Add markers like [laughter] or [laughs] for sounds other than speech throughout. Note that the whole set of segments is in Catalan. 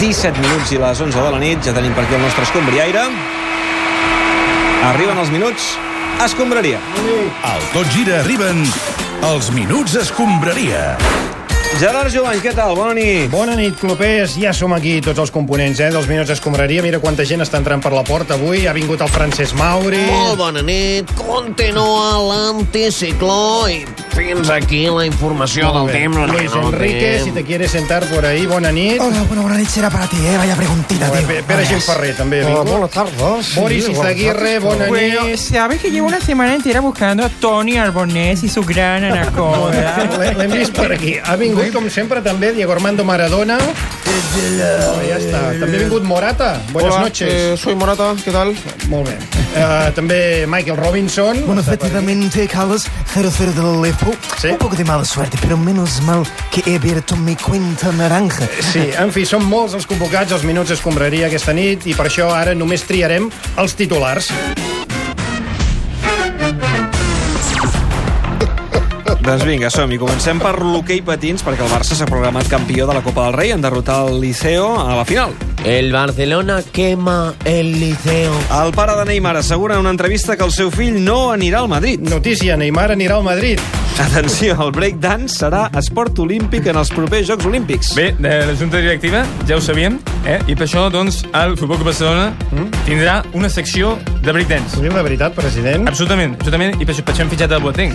17 minuts i les 11 de la nit. Ja tenim per aquí el nostre escombriaire. Arriben els minuts escombraria. Al Tot Gira arriben els Minuts Escombraria. Gerard Jovany, què tal? Bona [laughs] nit. Bona nit, clubers. Ja som aquí, tots els components, eh? Dels minuts escombraria. Mira quanta gent està entrant per la porta avui. Ha vingut el Francesc Mauri. Molt bona nit, continua l'anticicló i fins aquí la informació Molt del bé. temps. Luis Enrique, si te quieres sentar por ahí, bona nit. Hola, bueno, buena noche era para ti, eh? Vaya preguntita, Molt tío. bé. Pere Gil Ferrer també ha vingut. tardes. Boris Izaguirre, bona Bueno, nit. Eh, sabes que llevo una semana entera buscando a Tony Arbonés y su gran anaconda. L'he- L'hem vist per aquí. Ha vingut, com sempre, també Diego Armando Maradona. Oh, ja està. També ha vingut Morata. Buenas noches. eh, soy Morata, què tal? Molt bé. Uh, també Michael Robinson. Bueno, efectivamente, Carlos, 0-0 del Lepo. Sí. Un poco de mala suerte, pero menos mal que he abierto mi cuenta naranja. Sí, en fi, són molts els convocats, els minuts escombraria aquesta nit i per això ara només triarem els titulars. Doncs vinga, som-hi. Comencem per l'hoquei patins, perquè el Barça s'ha programat campió de la Copa del Rei en derrotar el Liceo a la final. El Barcelona quema el Liceo. El pare de Neymar assegura en una entrevista que el seu fill no anirà al Madrid. Notícia, Neymar anirà al Madrid. Atenció, el breakdance serà esport olímpic en els propers Jocs Olímpics. Bé, de la Junta Directiva ja ho sabíem, eh? i per això doncs, el Futbol Club Barcelona tindrà una secció de Ho breakdance. diu la veritat, president? Absolutament, absolutament, i per això, per això hem fitxat el Boateng.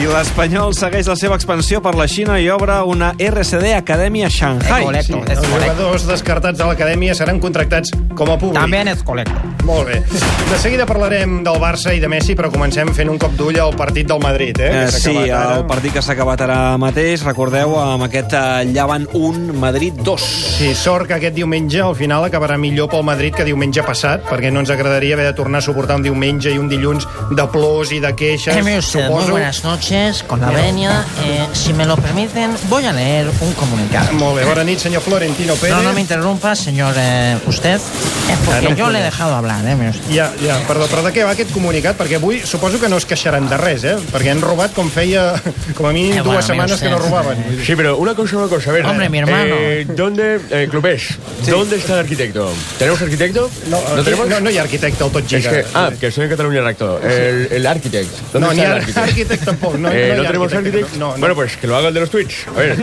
I l'Espanyol segueix la seva expansió per la Xina i obre una RCD Academia a Shanghai. Sí, els jugadors descartats de l'acadèmia seran contractats com a públic. También es colecto. Molt bé. De seguida parlarem del Barça i de Messi, però comencem fent un cop d'ull al partit del Madrid, eh? Eh, que s'ha sí, acabat ara. el partit que s'ha acabat ara mateix, recordeu, amb aquest eh, Llevant 1, Madrid 2. Sí, sort que aquest diumenge al final acabarà millor pel Madrid que diumenge passat, perquè no ens agradaria haver de tornar a suportar un diumenge i un dilluns de plors i de Eh, queixes, Muy suposo. buenas noches, con la venia. Eh, si me lo permiten, voy a leer un comunicado. Molt bé, bona nit, senyor Florentino Pérez. No, no me interrumpa, señor eh, usted, eh, porque yo le he dejado hablar, eh, mire usted. Ja, ja, perdó, però de què va aquest comunicat? Perquè avui suposo que no es queixaran de res, eh? Perquè han robat com feia, com a mínim, Eh, bueno, mira dues setmanes que no usted. robaven. Vull dir, Sí, pero una cosa, una cosa. A ver, Hombre, mi hermano. Eh, ¿Dónde, eh, Clubes, dónde está el arquitecto? ¿Tenemos arquitecto? No, aquí, tenemos? Eh, no, no hi ha arquitecte al Tot Es Gira. que, ah, que estoy en Cataluña recto. El, el arquitecto. [laughs] ¿Dónde no, está ni el ha arquitecto? arquitecte tampoc. No, no, Eh, ¿No hi ha tenemos arquitecto? No, no. Bueno, pues que lo haga el de los tweets. [laughs] A ver,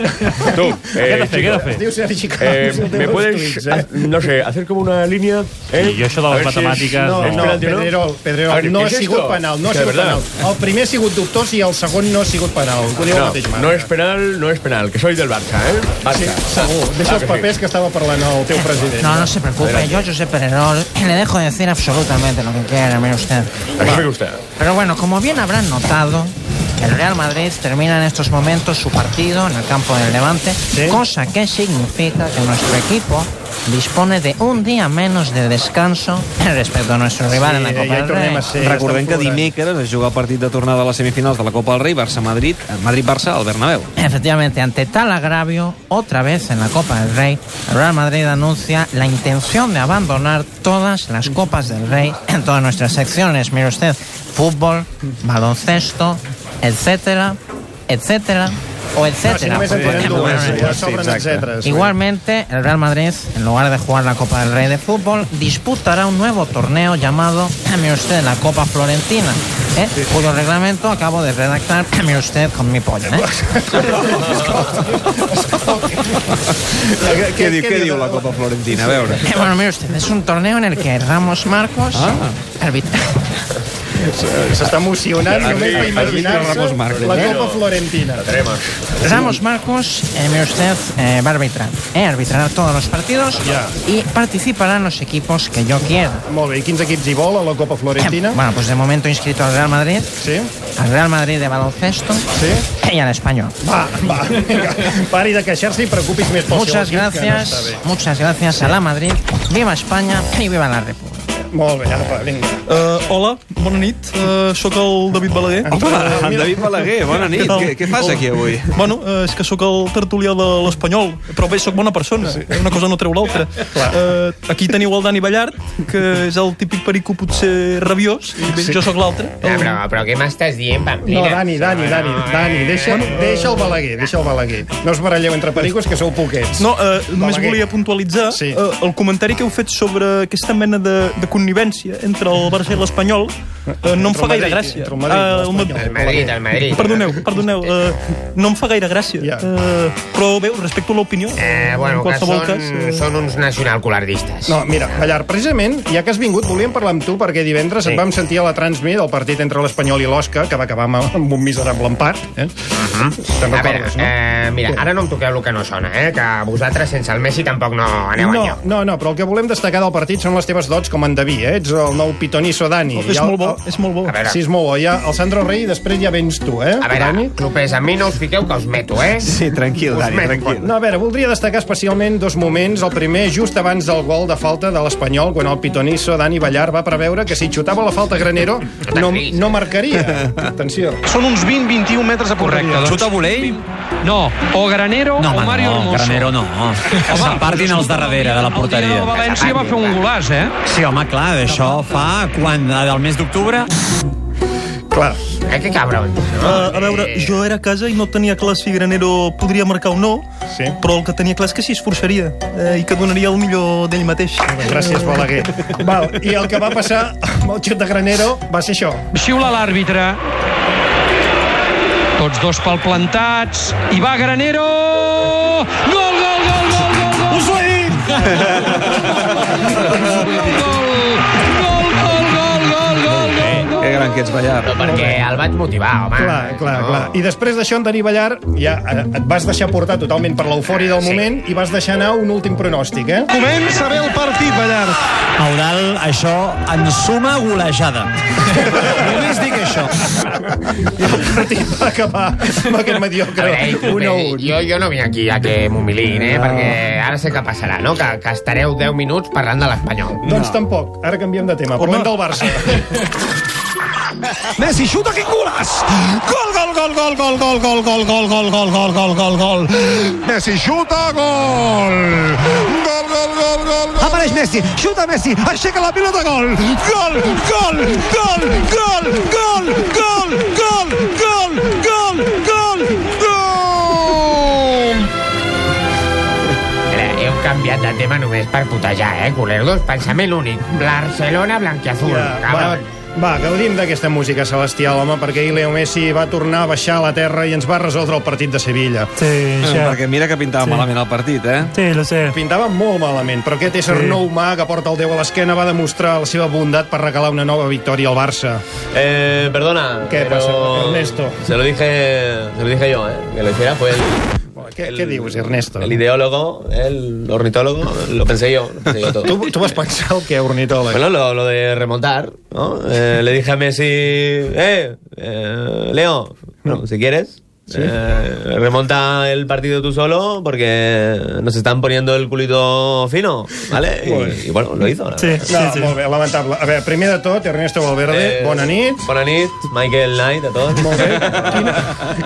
tú. Eh, chico, es diu Sergi [laughs] eh, Camps. el de ¿Me los puedes, ah, tuits, ha- eh? no sé, hacer como una línea? Eh? Sí, yo eso de A las ver si es- matemáticas, No, es no, penalti, ¿no? Pedrerol, A Pedrerol, ver, no ha ¿qué es sigut esto? penal, no ha Que de sigut verdad. penal. El primer ha sigut dubtós i el segon no ha sigut penal. Ho diu el mateix No, Marc. no es penal, no es penal, que soy del Barça, ¿eh? Barça. Sí, segur. Deixa Ah, els que sí. papers que estava parlant el teu president. No, no se preocupe, yo, Josep Pererol, le dejo decir absolutamente lo que quiera, mire usted. Eso me gusta. Pero bueno, como bien habrán notado, el Real Madrid termina en estos momentos su partido en el campo del Levante, cosa que significa que nuestro equipo dispone de un día menos de descanso [laughs] respecto a nuestro rival en la eh, Copa ja hi del tornem Rey. a ser. Sí, Recordem estan que plorant. dimecres es juga el partit de tornada a les semifinals de la Copa del Rei, Barça-Madrid, eh, Madrid-Barça al Bernabéu. Efectivamente, ante tal agravio, otra vez en la Copa del Rey, el Real Madrid anuncia la intención de abandonar todas las Copas del Rey en todas nuestras secciones. Mire usted, fútbol, baloncesto, etcétera, etcétera o No, si etcétera. Ah, només en porque- tenen dues, ja sobren etcèteres. Igualmente, el Real Madrid, en lugar de jugar la Copa del Rey de Fútbol, disputará un nuevo torneo llamado, mire usted, la Copa Florentina, ¿eh? cuyo reglamento acabo de redactar, mire usted, con mi polla. [laughs] ¿eh? Què, diu, què diu la Copa Florentina? A veure. Eh, bueno, mire usted, es un torneo en el que Ramos Marcos, Ah. arbitra- S'està emocionant només per imaginar-se Ramos Marcos. la Copa Florentina. Ramos Marcos, eh, mire usted, eh, va a arbitrar, ¿eh? arbitrará todos los partidos Ya. y participarán los equipos que yo quiera. Molt bé, i quins equips hi vol a la Copa Florentina? Bueno, pues de momento inscrito al Real Madrid, Sí, al Real Madrid de baloncesto eh, sí. y al español. Va, va, vinga. Pari de queixar-se i preocupis més pel Muchas seu equip, que no gracias, està bé. muchas gracias a la Madrid, viva España y viva la República. Molt bé, apa, vinga. Uh, hola, bona nit. Uh, sóc el David Balaguer. Home, en David Balaguer, bona nit. tal? Què, què fas Hola. aquí avui? Bueno, eh, és que sóc el tertulià de l'Espanyol, però bé, sóc bona persona. Una cosa no treu l'altra. Eh, aquí teniu el Dani Ballart, que és el típic perico potser rabiós, i bé, jo sóc l'altre. No, El... però, però què m'estàs dient, Pampina? mm. No, Dani, Dani, Dani, Dani, deixa, deixa el Balaguer, deixa el Balaguer. No us baralleu entre pericos, que sou poquets. No, eh, només Balaguer. volia puntualitzar Sí. eh, el comentari que heu fet sobre aquesta mena de, de connivència entre el Barça i l'Espanyol. Eh, no em Entre fa el gaire Madrid, gràcia. entre el Madrid i Eh, el l'Espanyol. El Madrid, el Madrid. Perdoneu, perdoneu, eh, no em fa gaire gràcia. Ja. Eh, però bé, respecto l'opinió. Eh, bueno, en que qualsevol són, cas... eh, són uns nacionalcolardistes. No, mira, Ballar, precisament, ja que has vingut, volíem parlar amb tu, perquè divendres sí. et vam sentir a la transmi del partit entre l'Espanyol i l'Osca, que va acabar amb, amb un miserable empat. Eh? Uh -huh. Te'n A veure, recordes, no? eh, mira, ara no em toqueu el que no sona, eh? Que vosaltres sense el Messi tampoc no aneu No, enlloc. no, no, però el que volem destacar del partit són les teves dots com a endeví, eh? Ets el nou pitonisso Dani. Oh, És Ja el- molt bo, és molt bo. A veure, Sí, és molt bo. Ja el Sandro Rey i després ja vens tu, eh? a veure, clubers, a mi no us fiqueu que us meto, eh? Sí, tranquil, Us Dani, meto. tranquil. No, a veure, voldria destacar especialment dos moments. El primer, just abans del gol de falta de l'Espanyol, quan el pitonisso Dani Ballar va preveure que si xutava la falta Granero no, no marcaria. Atenció. Són uns 20-21 metres a Correcte, doncs... Xuta Volei? No, o Granero No, o home, Mario no, Hermoso. Granero no. Que se'n partin els de darrere de la El dia de porteria. València va fer un golaç, eh? Sí, home, clar, d'això fa quan? eh, Del mes d'octubre? Clar, Eh, que cabrons. Eh, a veure, jo era a casa i no tenia clar si Granero podria marcar o no, Sí. però el que tenia clar és que s'hi esforçaria eh, i que donaria el millor d'ell mateix. Gràcies, Balaguer. Val, I el que va passar amb el xut de Granero va ser això. Xiula l'àrbitre. Tots dos pel plantats. I va Granero! Gol, gol, gol, gol, gol, gol! Us ho he dit! Gol, gol, gol, gol, gol, gol, gol! Que gran que ets, Ballar. No, perquè el vaig motivar, home. Clar, clar, Ah, eh, No. clar. I després d'això, en Dani Ballar, ja eh, et vas deixar portar totalment per l'eufòria del Sí. Ah. moment i vas deixar anar un últim pronòstic, eh? Comença bé el partit, Ballart. Aural, això en suma golejada. Només dic això. I el partit va acabar amb aquest A mediocre veure, ei, 1 a 1. clubers, jo, jo no vinc aquí a que m'humiliïn, eh? Perquè ara sé què passarà, no? Que, que estareu 10 minuts parlant de l'Espanyol. Doncs tampoc. Ara canviem de tema. Parlem del [laughs] Barça. Messi xuta, quin golaç! Gol, gol, gol, gol, gol, gol, gol, gol, gol, gol, gol, gol, gol, gol, gol. Messi xuta, gol! Gol, gol, gol, gol, gol! Apareix Messi, xuta Messi, aixeca la pilota, gol! Gol, gol, gol, gol, gol, gol, gol, gol, gol, gol, gol! Mira, heu canviat de tema només per putejar, eh, culerdos? Pensament únic. Barcelona blanquiazul. Ja, va, Cabron. va, gaudim d'aquesta música celestial, home, perquè ahir Leo Messi va tornar a baixar a la terra i ens va resoldre el partit de Sevilla. Sí, ya. Perquè mira que pintava malament el partit, eh? Sí, lo sé. Pintava molt malament, però aquest ésser Sí. sí. no humà que porta el Déu a l'esquena va demostrar la seva bondat per regalar una nova victòria al Barça. Eh, perdona. ¿Qué pero pasa, Ernesto? Se lo dije, se lo dije yo, ¿eh? Que lo hiciera fue el, Què, El- què dius, Ernesto? el ideólogo, el ornitólogo. Lo pensé yo. Lo pensé yo todo. Tu, tu vas pensar el que, ornitòleg? Bueno, lo, lo de remontar, ¿no? Eh, le dije a Messi, eh, eh, Leo, bueno, si quieres, eh, remonta el partido tú solo porque nos están poniendo el culito fino, ¿vale? Y, y bueno, lo hizo. la Sí, verdad. No, sí, sí. molt bé, lamentable. A veure, primer de tot, Ernesto Valverde, Eh, bona nit. Bona nit, Michael Knight, a todos. Molt bé. Quina,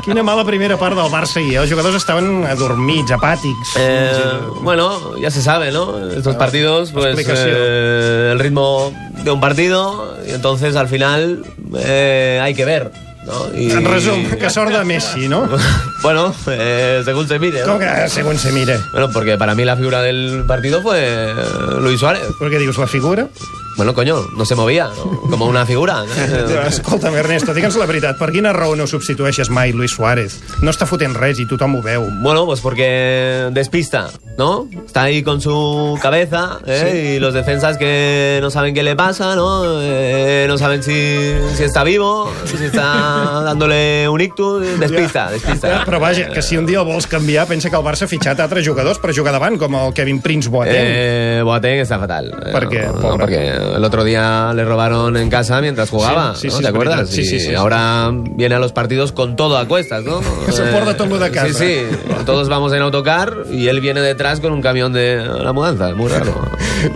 quina mala primera part del Barça ahir. eh? Els jugadors estaven adormits, apàtics. Eh, bueno, ya se sabe, ¿no? Estos partidos, pues explicación. eh, el ritmo de un partido, y entonces al final eh, hay que ver, ¿no? Y- En resum, que sort de Messi, no? [laughs] bueno, eh, según se mire. ¿no? Com que segons se mire? Bueno, porque para mí la figura del partido fue eh, Luis Suárez. Però què dius, la figura? Bueno, coño, no se movía, ¿no? como una [laughs] figura. ¿no? Escolta'm, Ernesto, digue'ns la veritat. Per quina raó no substitueixes mai Luis Suárez? No està fotent res i tothom ho veu. Bueno, pues porque despista, ¿no? Está ahí con su cabeza, ¿eh? Y los defensas que no saben qué le pasa, ¿no? Eh, no saben si, si está vivo, si está dándole un ictus. Despista, despista. Però vaja, que si un dia el vols canviar, pensa que el Barça ha fitxat altres jugadors per jugar davant, com el Kevin Prince Boateng. Eh, Boateng està fatal. Per què, No, no, pobre? perquè el otro día le robaron en casa mientras jugaba, Sí, sí, ¿no? sí, ¿Te es acuerdas? veritat. Sí, sí, Y sí, sí. ahora viene a los partidos con todo a [laughs] cuestas, ¿no? Se Eh, porta todo lo de casa. ¿eh? Sí, sí. Todos vamos en autocar y él viene detrás con un camión de la mudanza. Muy [laughs] raro.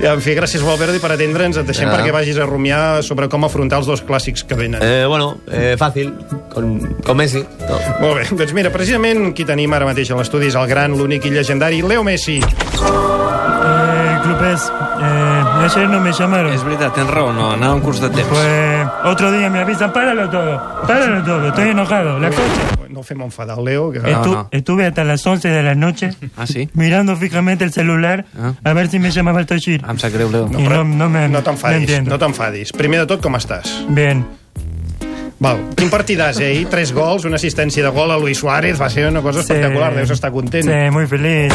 En fi, gràcies, Valverde, per atendre'ns. Et deixem Ah. perquè vagis a rumiar sobre com afrontar els dos clàssics que venen. Eh, bueno, eh, fácil. Con, con Messi. No. Molt bé, doncs mira, precisament qui tenim ara mateix a l'estudi és el gran, l'únic i llegendari Leo Messi. Eh, clubes, eh, ayer no me llamaron. Es verdad, ten raó, no, anava un curs de temps. Pues otro día me avisan, páralo todo, páralo todo, estoy enojado, la concha. No fem enfadar el Leo. Que... Estu- Estuve hasta las 11 de la noche Ah, sí? mirando fijamente el celular Ah. a ver si me llamaba el Toshir. Em sap greu, Leo. I no, no, me, No t'enfadis, entiendo. no t'enfadis. Primer de tot, com estàs? Bien. Val. Quin partidàs, eh? Ahir Tres gols, una assistència de gol a Luis Suárez, va ser una cosa Sí. espectacular, deus estar content. Sí, muy feliz.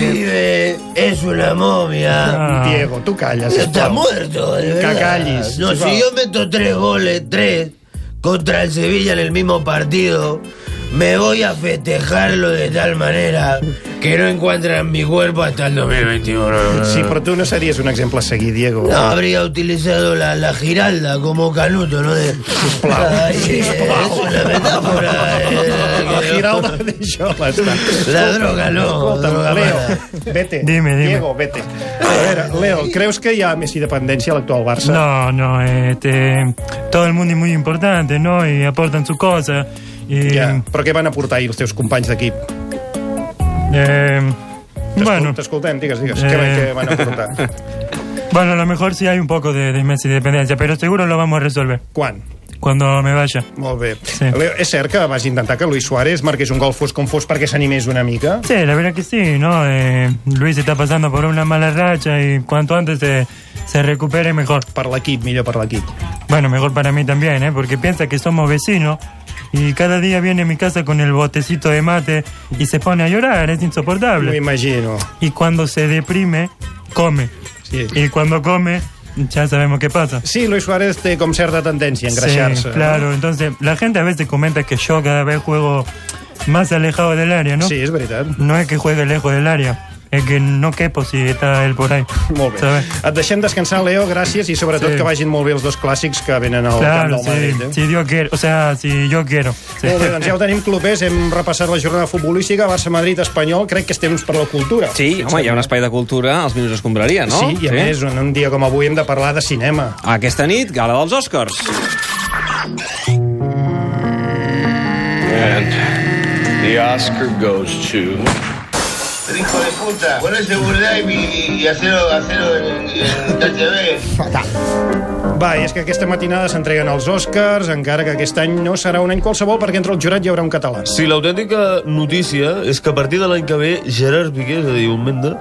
Vive, Eh, este es una Ah. momia. Diego, tu calles. Está sisplau. muerto, de Que verdad. callis. No, sisplau. si yo meto tres goles, tres, contra el Sevilla en el mismo partido, me voy a festejarlo de tal manera que no encuentran mi cuerpo hasta el 2021. Sí, però tu no series un exemple a seguir, Diego. No, habría utilizado la, la giralda como canuto, ¿no? De... Ay, eh, es una [laughs] metáfora. eh, La giralda de xoles. La droga, no, Escolta'm, droga Leo, vete. Dime, dime. Diego, vete. A veure, Leo, creus que hi ha més independència a l'actual Barça? No, no, este, todo el mundo es muy importante, ¿no? Y aportan su cosa. Y, Ja, però què van aportar ahir els teus companys d'equip? eh, bueno, T'escoltem, digues, digues. Què, van- Eh. què van aportar? [laughs] Bueno, a lo mejor sí hay un poco de, de Messi dependencia, pero seguro lo vamos a resolver. ¿Cuándo? Cuando me vaya. Molt bé. Sí. Leo, és cert que vas intentar que Luis Suárez marqués un gol fos com fos perquè s'animés una mica? Sí, la verdad que sí, ¿no? Eh, Luis está pasando por una mala racha y cuanto antes se, se recupere mejor. Para la equipo, mejor para la equipo. Bueno, mejor para mí también, ¿eh? Porque piensa que somos vecinos y cada día viene a mi casa con el botecito de mate y se pone a llorar, es insoportable. Me imagino. Y cuando se deprime, come. Sí. Y cuando come, ya sabemos qué pasa. Sí, Luis Suárez té com certa tendència a engreixar-se. Sí, claro, entonces la gente a veces comenta que yo cada vez juego más alejado del área, ¿no? Sí, es verdad. No es que juegue lejos del área, es que no quepo si está él por ahí. Molt bé. ¿sabes? Et deixem descansar, Leo, gràcies, i sobretot Sí. sí. que vagin molt bé els dos clàssics que venen al Claro, camp del Madrid. ¿eh? sí, si Dios quiere, o sea, si yo quiero. sí. Molt bé, doncs ja ho tenim, clubers, hem repassat la jornada futbolística, Barça-Madrid, Espanyol, crec que és temps per la cultura. Sí, home, hi ha un espai de cultura als Minuts Escombraria, no? Sí, i a sí. més, en un dia com avui hem de parlar de cinema. Aquesta nit, gala dels Oscars. And the Oscar goes to. Hijo de puta, poné seguridad y, y hacelo, hacelo en, en THB. Fatal. Va, i és que aquesta matinada s'entreguen els Oscars, encara que aquest any no serà un any qualsevol, perquè entre el jurat hi haurà un català. Sí, l'autèntica notícia és que a partir de l'any que ve Gerard Piqué, és a dir, un menda,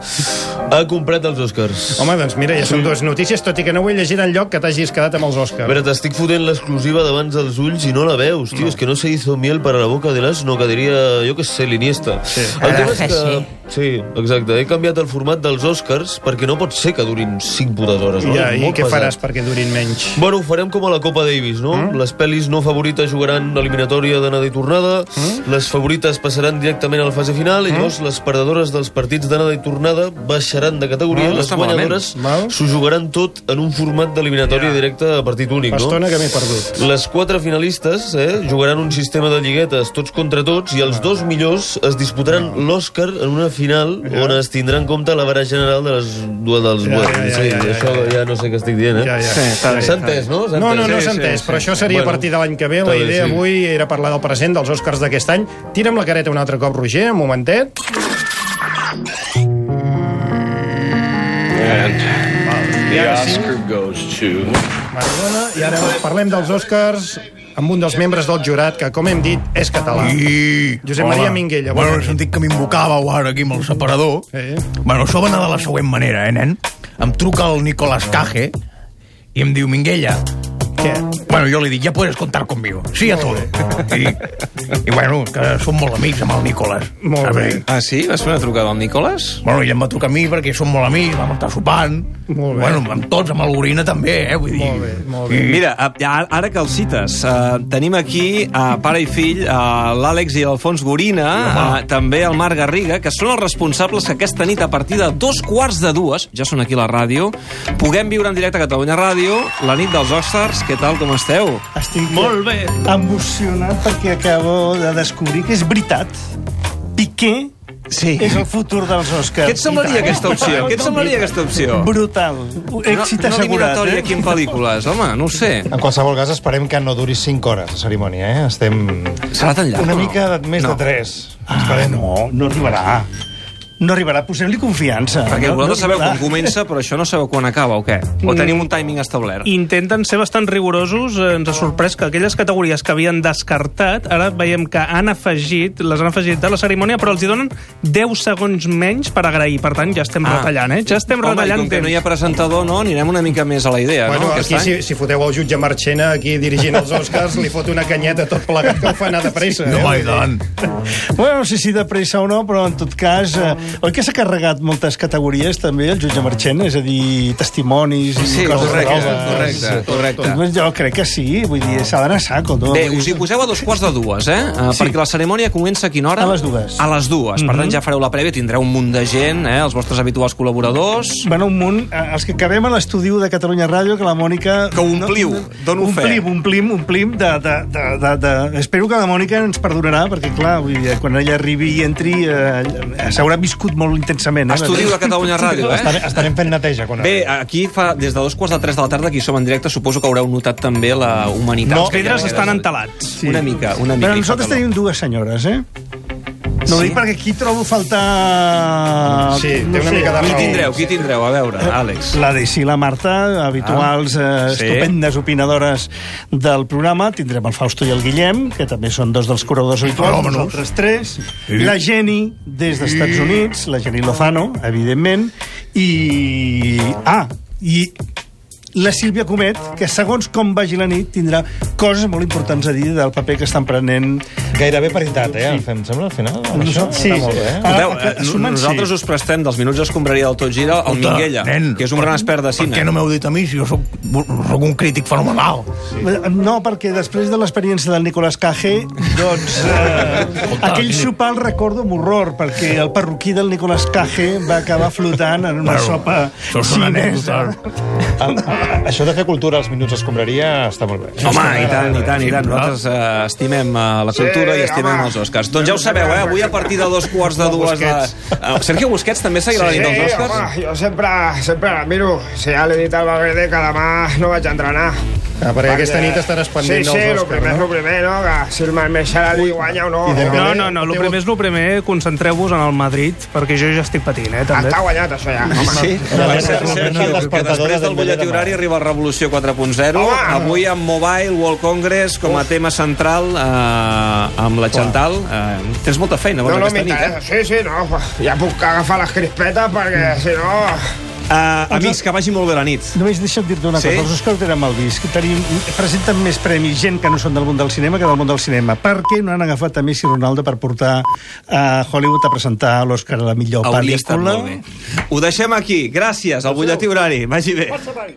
ha comprat els Oscars. Home, doncs mira, ja són dues notícies, tot i que no ho he llegit en lloc que t'hagis quedat amb els A Oscars. veure, t'estic fotent l'exclusiva davant dels ulls i no la veus, tio. És que no se hizo miel para la boca de l'asno, que diria, jo que sé, l'Iniesta. Sí. El tema és que... Sí, exacte. He canviat el format dels Oscars perquè no pot ser que durin 5 putes hores. No? Ja, És I molt què pesat. faràs perquè durin menys? Bueno, ho farem com a la Copa Davis, no? Mm? Les pel·lis no favorites jugaran eliminatòria d'anada i tornada, mm? les favorites passaran directament a la fase final, Mm. i llavors les perdedores dels partits d'anada i tornada baixaran de categoria, Mm, no i les està malament. guanyadores s'ho jugaran tot en un format d'eliminatòria yeah. directa a partit únic, no? Bastona que m'he perdut. Les quatre finalistes eh, jugaran un sistema de lliguetes tots contra tots i els dos millors es disputaran l'Oscar en una final on es tindrà en compte la vara general de les dues dels Ja, dues. ja, ja, Sí, ja, ja, això ja no sé què estic dient, eh? Ja, ja. Sí, està bé, S'ha està bé. entès, no? S'ha No, no, entès? no s'ha entès, però això seria a Bueno, partir de l'any que ve. La està bé, idea sí. avui era parlar del present dels Oscars d'aquest any. Tira'm la careta un altre cop, Roger, un momentet. And the Oscar goes to. Maradona, i ara parlem dels Oscars amb un dels membres del jurat, que, com hem dit, és català. I... Josep Maria Minguella, Bueno, bona he sentit que m'invocàveu ara aquí amb el separador. Eh? Bueno, això va anar de la següent manera, eh, nen? Em truca el Nicolas Cage i em diu, Minguella, Què? Bueno, jo li dic, ja puedes contar conmigo. Sí a todo. I, I bueno, que som molt amics amb el Nicolas. Molt bé. Ah, sí? Vas fer una trucada al Nicolas? Bueno, ell em va trucar a mi perquè som molt amics, vam estar sopant. Molt bé. Bueno, amb tots, amb el Gorina també, eh? Vull dir... Molt bé, molt Mm, Mira, a- a- ara que els cites, eh, tenim aquí a pare i fill, a l'Àlex i l'Alfons Gorina, eh, també el Marc Garriga, que són els responsables que aquesta nit, a partir de dos quarts de dues, ja són aquí a la ràdio, puguem viure en directe a Catalunya Ràdio la nit dels Oscars. Què tal, com esteu? Estic molt bé. emocionat perquè acabo de descobrir que és veritat. Piqué sí. és el futur dels Oscars. Què et I semblaria tant. eh? aquesta opció? Què et semblaria aquesta opció? Brutal. Èxit no, no assegurat. eliminatòria eh? aquí en pel·lícules, home, no ho sé. En qualsevol cas, esperem que no duri 5 hores la cerimònia, eh? Estem... Serà tan llarg, Una o no? mica de, més No. de 3. Ah, no, no arribarà. No arribarà, posem-li confiança. Perquè no, vosaltres sabeu arribarà. quan comença, però això no sabeu quan acaba, o què? O Mm. tenim un timing establert? Intenten ser bastant rigorosos, eh, ens ha sorprès que aquelles categories que havien descartat, ara veiem que han afegit, les han afegit de la cerimònia, però els hi donen 10 segons menys per agrair, per tant ja estem retallant, eh? Ja estem Home, retallant i com que no hi ha temps. presentador, no, anirem una mica més a la idea, Bueno, no, aquí, si, si foteu el jutge Marchena aquí dirigint els Oscars, li fot una canyeta tot plegat que ho fa anar de pressa. eh? Bueno, no sé si de pressa o no, però en tot cas... Eh, oi que s'ha carregat moltes categories, també, el jutge Marchena? És a dir, testimonis i Sí, coses correcte, noves. correcte, correcte. Doncs jo crec que sí, vull dir, s'ha d'anar a saco. No? Bé, Vull us dir, hi poseu a dos quarts de dues, eh? Sí. Perquè la cerimònia comença a quina hora? A les dues. A les dues. Per tant, Mhm. ja fareu la prèvia, tindreu un munt de gent, eh? els vostres habituals col·laboradors... Bueno, un munt, eh, els que acabem a l'estudiu de Catalunya Ràdio, que la Mònica... Que ompliu, dono fe. omplim, Omplim, omplim, de, de, de, de, de... Espero que la Mònica ens perdonarà, perquè, clar, vull dir, quan ella arribi i entri, eh, s'haurà viscut molt intensament. Eh? Estudiu de Catalunya Ràdio, eh? Estarem, estarem fent neteja quan Bé, aquí fa des de dos quarts de tres de la tarda, aquí som en directe, suposo que haureu notat també la humanitat. No, que hi ha pedres darrere. estan entelats. Sí. Una mica, una mica. Però hi fa nosaltres calor. tenim dues senyores, eh? No ho Sí? dic perquè aquí trobo faltar... no sé, Qui tindreu, qui tindreu? A veure, Àlex. La Daisy i la Marta, habituals, Ah, ah, eh, sí. estupendes opinadores del programa. Tindrem el Fausto i el Guillem, que també són dos dels curadors habituals, fenòmenos. nosaltres tres. Sí. La Jenny, des dels Estats Units, la Jenny Lozano, evidentment, i... Ah, i la Sílvia Comet, que segons com vagi la nit tindrà coses molt importants a dir del paper que estan prenent... Gairebé paritat, eh? Em sembla al final. amb Nosaltres- Això sí. Està molt bé, eh? Escolteu, Ah, eh, no- sumen, sí. nosaltres us prestem dels minuts d'escombraria del Tot Gira al Escolta, Minguella, nen, que és un gran expert de cine. Per què no m'heu dit a mi si jo sóc, sóc un crític fenomenal? No, perquè després de l'experiència del Nicolas Cage, doncs... Eh, aquell sopar el recordo amb horror, perquè el perruquí del Nicolas Cage va acabar flotant en una Bueno, sopa això és una xinesa. Ah, Això de fer cultura als minuts d'escombraria està molt bé. Home, i tant, i tant, i tant. Nosaltres eh, estimem eh, la cultura i estimem els Oscars. Doncs ja ho sabeu, eh? Avui a partir de dos quarts de dues... De... Busquets. Eh, Sergio Busquets també seguirà la nit dels Oscars? home, jo sempre, sempre la miro. Si ja l'he dit al Valverde que demà no vaig entrenar. Ah, perquè aquesta nit estaràs pendent sí, dels sí, Oscars, lo primer, no? no? primer, no? Que si el Marmeixal li guanya o no. No, no, no, el primer és el primer, concentreu-vos en el Madrid, perquè jo ja estic patint, eh, també. Està guanyat, això ja. Home. Sí? Sergio, que després del butlletí horari arriba el Revolució 4.0. Avui amb Mobile World Congress com a tema central eh, amb la Chantal. Eh, tens molta feina, No, bona, no aquesta nit, eh? m'interessa. Sí, sí, no. Ja puc agafar les crispetes perquè, si no... Eh, amics, que vagi molt bé la nit. Només deixa't dir-te una Sí? cosa, els Oscars tenen mal vist. Tenim, presenten més premis gent que no són del món del cinema que del món del cinema. Per què no han agafat a Messi i Ronaldo per portar a Hollywood a presentar l'Oscar a la millor Hauria estat pel·lícula? molt bé. Ho deixem aquí. Gràcies al butlletí horari. Vagi bé.